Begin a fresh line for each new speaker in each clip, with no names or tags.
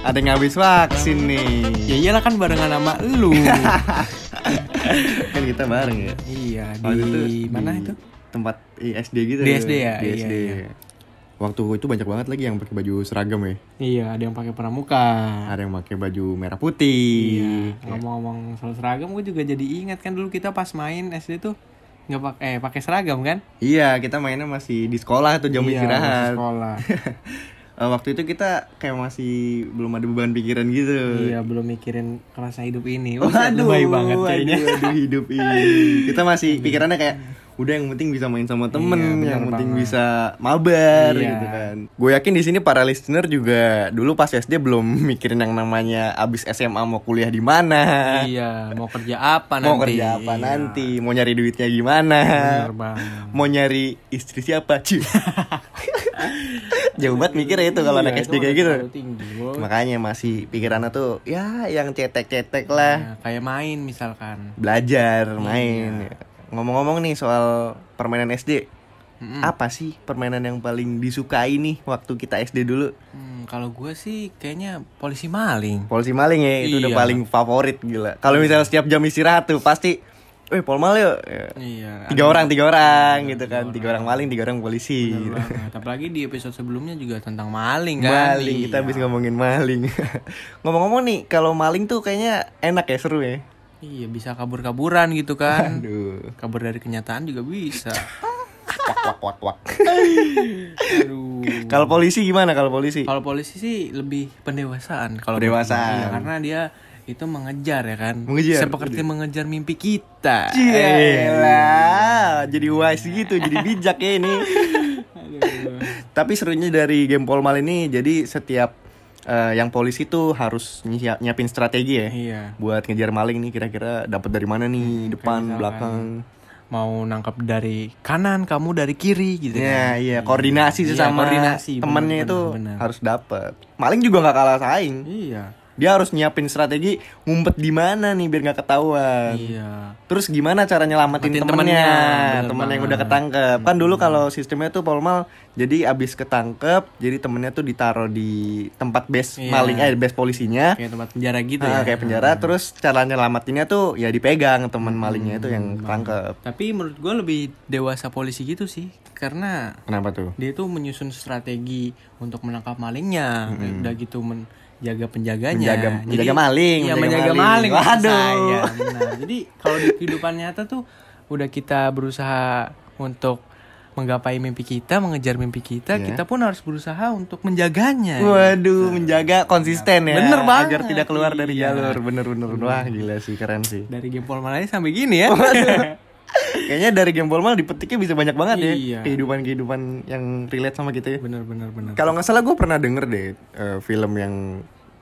ada yang habis vaksin nih
Ya iyalah kan barengan sama lu.
kan kita bareng ya
iya,
Waktu
di
itu
mana
di
itu?
tempat ISD gitu
Di SD ya?
di
Iya,
SD.
iya.
waktu itu banyak banget lagi yang pakai baju seragam ya
Iya, ada yang pakai pramuka.
ada yang pakai baju merah putih
Iya, ngomong-ngomong soal seragam gue juga jadi ingat kan dulu kita pas main SD tuh nggak pakai eh pakai seragam kan?
Iya, kita mainnya masih di sekolah tuh jam
Iya, masih
istirahat.
Sekolah.
Eh, waktu itu kita kayak masih belum ada beban pikiran gitu.
iya, belum mikirin kerasa hidup ini. Wah,
Waduh,
lebay banget
waduh,
kayaknya.
waduh, hidup ini. Kita masih pikirannya kayak udah yang penting bisa main sama
Iya,
temen,
benar
yang penting
banget.
bisa mabar
Iya.
gitu kan. Gue yakin di sini para listener juga dulu pas SD belum mikirin yang namanya abis SMA mau kuliah di mana,
iya, mau kerja apa nanti?
mau kerja apa
Iya,
nanti, mau nyari duitnya gimana.
Bener banget.
mau nyari istri siapa cuy jauh banget mikir ya itu kalau anak SD
Iya, itu
kayak
udah
gitu
terlalu tinggi, Bo.
makanya masih pikirannya tuh ya yang cetek-cetek lah
Nah, kayak main misalkan.
belajar main ya. ngomong-ngomong nih soal permainan SD apa sih permainan yang paling disukai nih waktu kita SD dulu
Hmm, kalau gue sih kayaknya polisi maling.
polisi maling ya itu udah
Iya.
paling favorit gila kalau misalnya setiap jam istirahat tuh pasti eh polmal yuk
Iya.
tiga orang tiga orang gitu kan tiga orang maling tiga orang polisi gitu.
Banget. Apalagi di episode sebelumnya juga tentang maling kan.
Maling, kita
Iya.
habis ngomongin maling. Ngomong-ngomong nih, kalau maling tuh kayaknya enak ya, seru ya.
Iya, bisa kabur-kaburan gitu kan.
Aduh.
Kabur dari kenyataan juga bisa.
Wak wak wak wak.
Aduh.
Kalau polisi gimana kalau polisi?
Kalau polisi sih lebih pendewasaan kalau
Pendewasaan.
Iya, karena dia itu mengejar ya kan.
Mengejar. Iya.
Seperti mengejar mimpi kita. Eh,
Yelah, jadi wise gitu, jadi bijak ya ini.
Aduh.
Tapi serunya dari game polmal ini, jadi setiap eh, yang polisi tuh harus nyiap- nyiapin strategi ya.
Iya.
Buat ngejar maling nih kira-kira dapat dari mana
Hmm,
nih, depan, belakang.
Mau nangkap dari kanan, kamu dari kiri gitu kan.
Ya, iya, koordinasi
Iya,
sesama
koordinasi, bener,
temennya
bener,
itu
bener.
harus dapat. Maling juga nggak kalah saing.
Iya.
Dia harus nyiapin strategi ngumpet di mana nih biar nggak ketahuan.
Iya.
Terus gimana cara nyelamatin
Nyelamatin
temennya,
temennya,
temennya temen
bener
yang
banget. Mm-hmm.
udah ketangkep. Kan dulu kalau sistemnya tuh polmal, jadi abis ketangkep, jadi temennya tuh ditaruh di tempat base
Iya.
maling, eh base polisinya.
Kayak tempat penjara gitu
Nah,
ya.
kayak penjara terus cara nyelamatinnya tuh ya dipegang teman
Mm-hmm.
malingnya itu yang ketangkep
Tapi menurut gue lebih dewasa polisi gitu sih, karena
kenapa tuh
dia tuh menyusun strategi untuk menangkap malingnya, udah gitu menjaga penjaganya.
Menjaga- menjaga maling,
Iya,
menjaga
menjaga
maling.
maling.
Waduh.
Saya, benar. Jadi kalau di kehidupan nyata tuh udah kita berusaha untuk menggapai mimpi kita, mengejar mimpi kita,
Iya.
kita pun harus berusaha untuk menjaganya.
Waduh, menjaga konsisten ya.
Iya. Bener banget.
Agar tidak keluar dari
Iya.
jalur. Bener-bener. Wah, gila sih, keren sih.
Dari game formal aja sampai gini ya.
Kayaknya dari game Ball mah dipetiknya bisa banyak banget
Iya.
ya. Kehidupan-kehidupan yang relate sama kita ya.
bener bener bener.
Kalau nggak salah gue pernah denger deh eh, film yang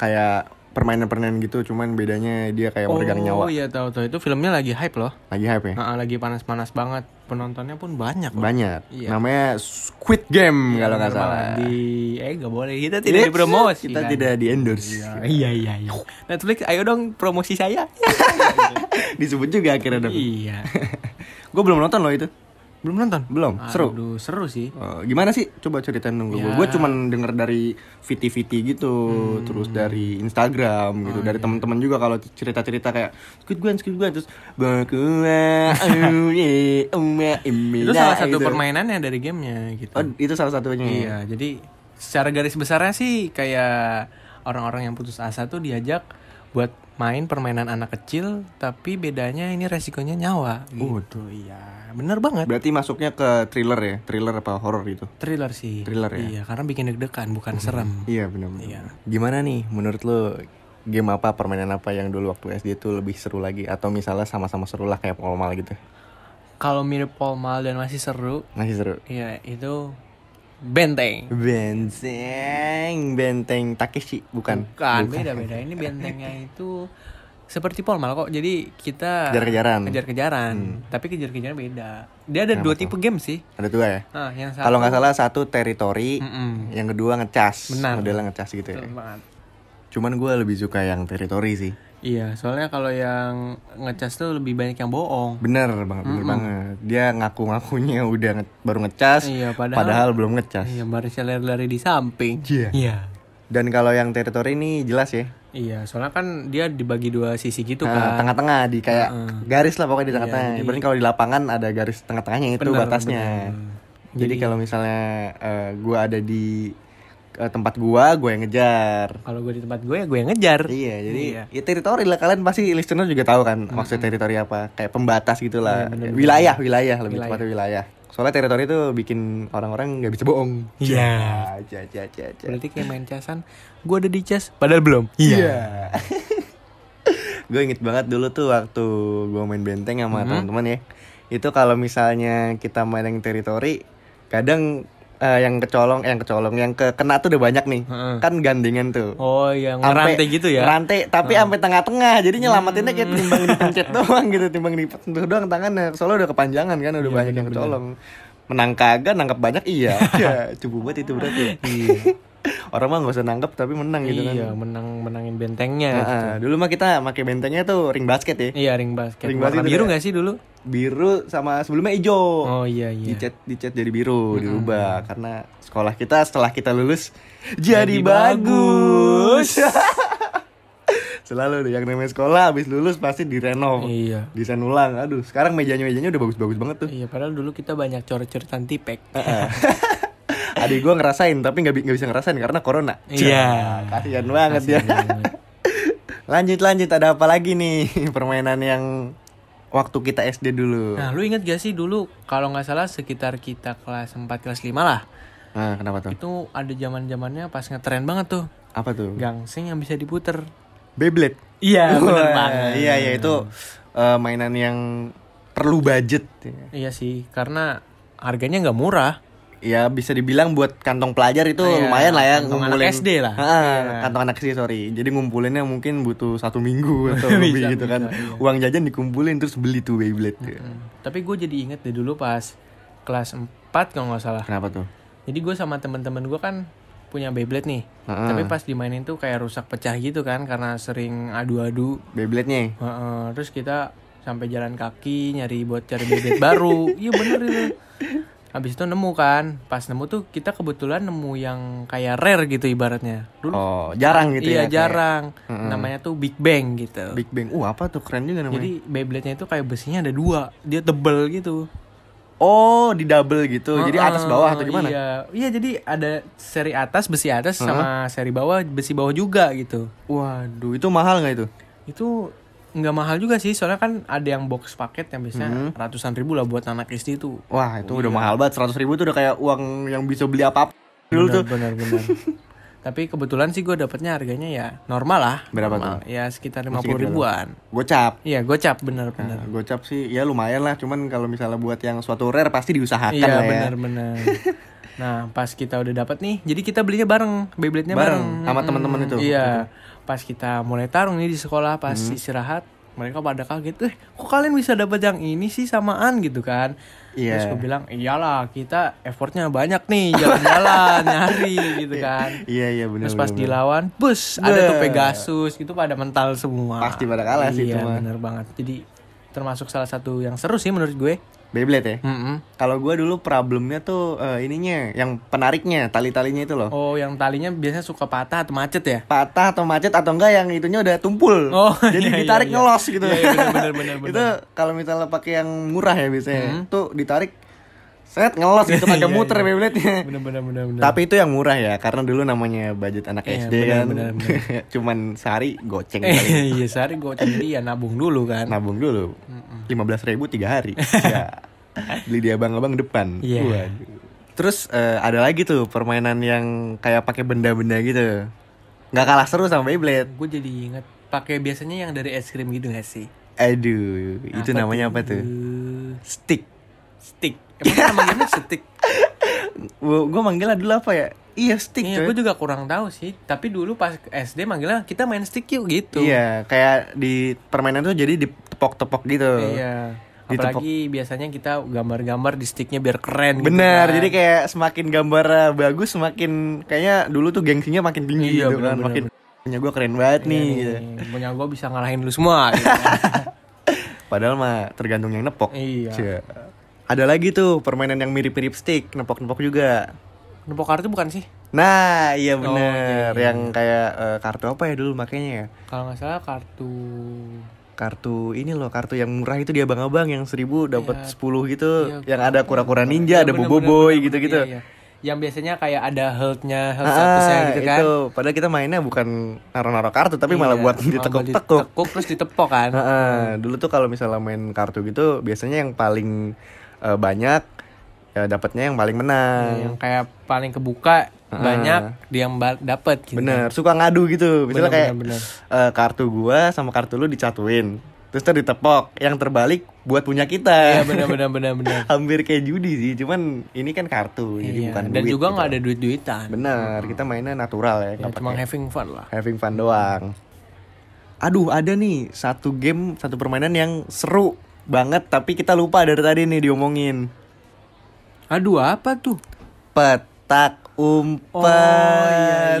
kayak permainan-permainan gitu. Cuman bedanya dia kayak meregang nyawa.
Oh iya tahu tahu itu filmnya lagi hype loh.
Lagi hype ya?
Nah, lagi panas-panas banget. Penontonnya pun banyak. loh.
Banyak.
Iya.
Namanya Squid Game kalau nggak
Bener
salah.
banget. Di eh gak boleh kita
Yes,
tidak dipromosi.
Iya, Kita
kan?
tidak di-endorse.
Iya iya iya. Netflix ayo dong promosi saya.
Disebut juga akhirnya dong.
iya.
Gue belum nonton loh itu.
Belum nonton?
Belum. Seru.
Aduh, seru sih.
Eh, gimana sih coba ceritain dong gue
Ya. Hmm.
gue cuman denger dari viti viti gitu terus dari Instagram
Oh,
gitu
iya.
dari teman-teman juga kalau cerita cerita kayak squid gun squid gun terus bakua uye uma imina
Itu salah satu
gitu.
permainannya dari gamenya gitu.
oh, itu salah satunya
Iya, jadi secara garis besarnya sih kayak orang-orang yang putus asa tuh diajak buat main permainan anak kecil, tapi bedanya ini resikonya nyawa. Gitu, iya. Bener banget.
berarti masuknya ke thriller ya thriller apa horor gitu
Thriller sih.
Thriller ya?
Iya, karena bikin deg-degan, bukan serem.
iya benar
Iya.
gimana nih menurut lo game apa permainan apa yang dulu waktu SD itu lebih seru lagi atau misalnya sama-sama seru lah kayak normal gitu
Kalau mirip Polmal dan masih seru,
masih seru
ya itu benteng.
Benteng, benteng Takeshi bukan.
Bukan, beda-beda. Ini bentengnya itu seperti Polmal kok. Jadi kita
Kejar-kejaran.
kejar-kejaran, Hmm. tapi kejar-kejaran beda. Dia ada dua tipe game sih.
Ada dua ya.
Ah, yang satu
Kalau nggak salah satu teritori,
Mm-mm.
yang kedua ngecas.
Benar.
Modelnya ngecas gitu ya.
Betul banget.
Cuman gue lebih suka yang teritori sih.
Iya, soalnya kalau yang ngecas tuh lebih banyak yang bohong.
Bener banget, bener banget. Dia ngaku-ngakunya udah nge- baru ngecas,
Iya, padahal-
belum ngecas.
Iya, barisnya lari-lari di samping.
Iya.
Iya.
Dan kalau yang teritori ini jelas ya.
Iya, soalnya kan dia dibagi dua sisi gitu
Nah,
kan. Iya,
tengah-tengah di kayak garis lah pokoknya di tengah-tengah.
jadi-
Berarti kalau di lapangan ada garis tengah-tengahnya itu
Bener,
batasnya.
bener.
Jadi, kalau misalnya eh, gua ada di eh, tempat gua, gua yang ngejar.
Kalau gue di tempat gue ya gue yang ngejar.
Iya, jadi
Iya.
ya teritori lah kalian pasti listener juga tahu kan maksud teritori apa. Kayak pembatas gitulah. wilayah, wilayah lebih
Iya, Wilayah.
tepatnya wilayah. Soalnya teritori itu bikin orang-orang nggak bisa bohong.
Iya.
Ja, ja, ja, ja.
Berarti kayak main casan, gue ada di cas, padahal belum. Iya.
gue Iya. inget banget dulu tuh waktu gue main benteng sama
Mm-hmm.
teman-teman ya. Itu kalau misalnya kita main yang teritori, kadang eh, yang kecolong, eh, yang kecolong, yang ke kena tuh udah banyak nih.
Heeh.
Kan gandengan tuh.
Oh, yang
Sampai-
rantai gitu ya. Hmm.
Rantai, tapi sampai tengah-tengah. Jadi nyelamatinnya kayak timbang dipencet doang gitu, timbang dipencet doang tangannya. Soalnya udah kepanjangan kan,
Iya,
udah banyak yang kecolong. Menang kagak, nangkap banyak iya. ya, cupu banget itu berarti. ya. Orang mah gak usah nangkep tapi menang gitu kan.
Iya, menang menangin bentengnya.
Heeh, gitu. dulu mah kita pakai bentengnya tuh ring basket ya.
Iya, ring basket.
Ring
Warna
basket
biru
itu
nggak sih dulu?
Biru sama sebelumnya hijau.
Oh iya iya.
Dicet dicet jadi biru, dirubah karena sekolah kita setelah kita lulus jadi,
Jadi
bagus. Selalu deh yang namanya sekolah habis lulus pasti direnov.
Iya.
Desain ulang. Aduh, sekarang mejanya-mejanya udah bagus-bagus banget tuh.
Iya, padahal dulu kita banyak coret-coretan tipek.
Adik gua ngerasain tapi nggak bi- nggak bisa ngerasain karena corona.
Iya.
Cah, Kasihan banget ya. lanjut lanjut ada apa lagi nih permainan yang waktu kita SD dulu.
Nah, lu inget gak sih dulu kalau nggak salah sekitar kita kelas 4 kelas 5 lah.
Nah, kenapa tuh?
Itu ada zaman-zamannya pas ngetren banget tuh.
Apa tuh?
Gangsing yang bisa diputer.
Beyblade.
Iya, bener
Wah,
banget.
Iya, iya itu eh, mainan yang perlu budget.
Iya sih, karena harganya nggak murah.
Ya bisa dibilang buat kantong pelajar itu
Iya,
lumayan lah ya
kantong anak SD lah.
Ah,
Iya.
kantong anak SD sorry. Jadi ngumpulinnya mungkin butuh satu minggu atau lebih gitu kan.
iya.
Uang jajan dikumpulin terus beli tuh Beyblade.
Tapi gue jadi inget deh dulu pas kelas 4 kalau nggak salah.
Kenapa tuh?
Jadi gue sama temen-temen gue kan punya Beyblade nih.
Heeh.
Tapi pas dimainin tuh kayak rusak pecah gitu kan karena sering adu-adu.
Beyblade-nya.
Heeh, terus kita sampai jalan kaki nyari buat cari Beyblade baru. Iya bener itu. Habis itu nemu kan. Pas nemu tuh kita kebetulan nemu yang kayak rare gitu ibaratnya. Dulu
Oh, jarang gitu ya.
iya
kayak
jarang. Namanya tuh Big Bang gitu.
Big Bang. ya. Uh, apa tuh keren juga namanya.
Jadi Beyblade-nya itu kayak besinya ada dua, dia tebel gitu.
oh, di double gitu. Jadi atas bawah atau
Eh,
gimana?
Iya, iya jadi ada seri atas besi atas sama seri bawah besi bawah juga gitu.
Waduh, itu mahal nggak itu?
Itu nggak mahal juga sih, soalnya kan ada yang box paket
Hmm.
yang biasanya ratusan ribu lah buat anak istri itu.
Wah, itu
Iya.
udah mahal banget. 100 ribu tuh udah kayak uang yang bisa beli apa dulu tuh.
Benar-benar. Tapi kebetulan sih gue dapetnya harganya ya normal lah.
Berapa gitu
normal. Ya sekitar lima puluh ribuan.
Gocap.
Iya, gocap bener-bener.
Nah, gocap sih ya lumayan lah, cuman kalau misalnya buat yang suatu rare pasti diusahakan
Iya
lah ya.
benar-benar. nah pas kita udah dapat nih, jadi kita belinya bareng, Beyblade-nya
Bareng,
bareng,
sama teman-teman itu, Mm-hmm.
Iya. Pas kita mulai tarung nih di sekolah, pas istirahat, mereka pada kaget, eh kok kalian bisa dapat yang ini sih samaan gitu kan?
Iya.
Terus gue bilang, iyalah kita effortnya banyak nih jalan-jalan nyari gitu kan.
Iya iya benar.
Terus pas dilawan, bus ada tuh Pegasus, itu pada mental semua.
Pasti pada kalah sih itu
Iya
mah.
bener banget. Jadi termasuk salah satu yang seru sih menurut gue.
Beyblade ya.
Mm-mm.
Kalau gua dulu problemnya tuh eh, ininya, yang penariknya, tali-talinya itu loh.
Oh, yang talinya biasanya suka patah atau macet ya?
Patah atau macet atau enggak yang itunya udah tumpul.
Oh,
Jadi
iya, iya,
ditarik
iya.
ngelos gitu.
Iya, iya, benar, benar, benar, Hmm.
itu kalau misalnya pakai yang murah ya biasanya, tuh ditarik set ngelos gitu pakai
Iya,
muter Beyblade-nya.
Bener bener bener bener.
Tapi itu yang murah ya, karena dulu namanya budget anak SD
Iya, benar,
kan.
benar,
Cuman sehari goceng kali.
Iya, sehari gue jadi ya nabung dulu kan.
Nabung dulu. 15.000 ribu tiga hari. ya. Beli di abang-abang depan.
Iya.
Waduh. Terus eh, ada lagi tuh permainan yang kayak pakai benda-benda gitu. Nggak kalah seru sama Beyblade.
Gue jadi inget pakai biasanya yang dari es krim gitu gak sih?
Aduh, itu
Apa
namanya apa tuh?
Eh,
Stick.
Stick. Emang nama gamenya stick.
Gue manggilnya dulu apa ya? Iya, stick.
Iya,
coy.
gue juga kurang tahu sih. Tapi dulu pas SD manggilnya kita main stick yuk gitu.
Iya, kayak di permainan tuh jadi ditepok-tepok gitu.
Iya. Apalagi biasanya kita gambar-gambar di sticknya biar keren. gitu
Bener,
kan.
jadi kayak semakin gambar eh, bagus, semakin kayaknya dulu tuh gengsinya makin tinggi
Iya,
gitu kan,
bener-bener.
makin punya gue keren banget nih. gitu.
Iya, Nih, punya gue bisa ngalahin lu semua. Gitu.
Padahal mah tergantung yang nepok.
Iya.
Cie. Ada lagi tuh permainan yang mirip-mirip stick, nepok-nepok juga.
Nepok kartu bukan sih?
Nah, iya
Oh,
bener.
iya, iya.
Yang kayak eh, kartu apa ya dulu makanya ya?
Kalau nggak salah kartu
Kartu ini loh, kartu yang murah itu di abang-abang yang seribu dapat
Iya.
10 gitu,
Iya,
yang ada kura-kura ninja,
Iya,
ada
bener,
bobo
bener,
boy
bener,
gitu-gitu.
bener, iya, iya. Yang biasanya kayak ada health-nya, health statusnya
Ah,
gitu kan.
itu. Padahal kita mainnya bukan naruh-naruh kartu, tapi malah
Iya,
buat
malah
ditekuk-tekuk.
ditekuk, terus ditepok kan.
Nah, eh, dulu tuh kalau misalnya main kartu gitu, biasanya yang paling eh, banyak ya dapatnya yang paling menang.
Iya, yang kayak paling kebuka banyak dia yang ba- dapet
Ah.
gitu.
Bener, suka ngadu gitu. Misalnya
Bener,
kayak
bener, bener.
eh, kartu gua sama kartu lu dicatuin. Terus ntar ditepok, yang terbalik buat punya
Iya
kita.
benar benar benar benar.
Hampir kayak judi sih, cuman ini kan kartu, jadi
Iya,
bukan
dan
duit
juga
gitu.
nggak ada duit-duitan.
Bener, kita mainnya natural ya,
Ya,
nggak
cuma
pakai
having fun lah.
having fun doang. Aduh, ada nih satu game, satu permainan yang seru banget tapi kita lupa dari tadi nih diomongin.
Aduh, apa tuh?
Petak umpet.
Oh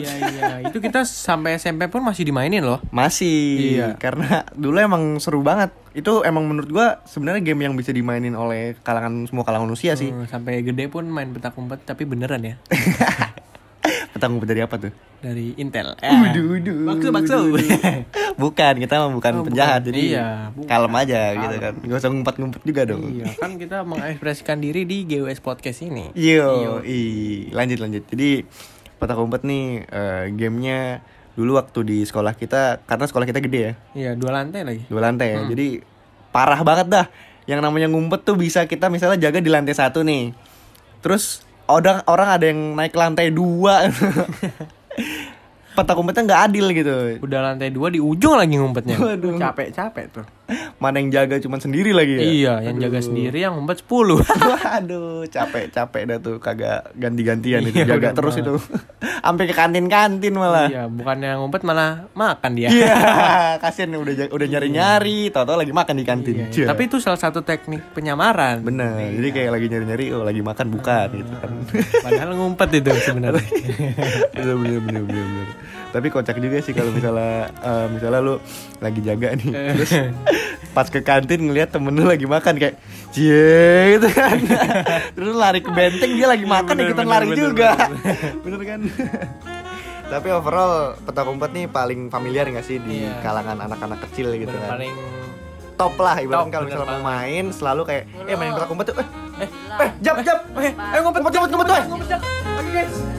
iya, iya, iya. Itu kita sampai SMP pun masih dimainin loh.
Masih
Iya.
karena dulu emang seru banget. Itu emang menurut gua sebenarnya game yang bisa dimainin oleh kalangan semua kalangan usia sih.
Hmm, sampai gede pun main petak umpet tapi beneran ya.
Petak umpet dari apa tuh?
Dari Intel. Eh,
Uduh, uduh,
Bakso, bakso.
uduh. bukan, kita mah bukan
bukan.
penjahat. Jadi
Iya, bukan.
kalem aja gitu kan. Gak usah ngumpet-ngumpet juga dong.
iya, kan kita mengekspresikan diri di GWS Podcast ini. Iya.
Yo, i lanjut lanjut. Jadi petak umpet nih eh, gamenya dulu waktu di sekolah kita karena sekolah kita gede ya
Iya, dua lantai lagi.
dua lantai
Hmm.
ya. Jadi parah banget dah. Yang namanya ngumpet tuh bisa kita misalnya jaga di lantai satu nih. Terus orang orang ada yang naik ke lantai dua. petak umpetnya nggak adil gitu.
Udah lantai dua di ujung lagi ngumpetnya.
Waduh.
Capek-capek tuh.
Mana yang jaga cuman sendiri lagi ya.
Iya, yang jaga sendiri yang ngumpet 10.
Waduh, capek-capek dah tuh kagak ganti-gantian itu
Iya,
jaga
bener
terus itu. Sampai ke kantin-kantin malah.
iya, bukannya ngumpet malah makan dia.
Iya, kasihan udah ja- udah nyari-nyari, tau-tau lagi makan di kantin.
Iya,
Cia.
Tapi itu salah satu teknik penyamaran.
bener, jadi kayak lagi nyari-nyari, oh lagi makan bukan gitu kan.
Padahal ngumpet itu sebenarnya.
bener, bener, bener, bener, bener. Tapi kocak juga sih kalau misalnya eh, misalnya lu lagi jaga nih, terus pas ke kantin ngelihat temen lu lagi makan kayak cie gitu kan. terus lu lari ke benteng dia lagi makan
bener,
ikutan
bener,
lari
bener,
juga. Bener, kan? Tapi overall petak umpet nih paling familiar gak sih di
Iya.
kalangan anak-anak kecil gitu
Bener,
kan.
paling
top lah ibaratnya
Top,
kalau
bener
misalnya mau main selalu kayak eh main petak umpet tuh eh
eh
eh jap jap eh eh ngumpet ngumpet ngumpet ngumpet, ngumpet, ngumpet, ngumpet, guys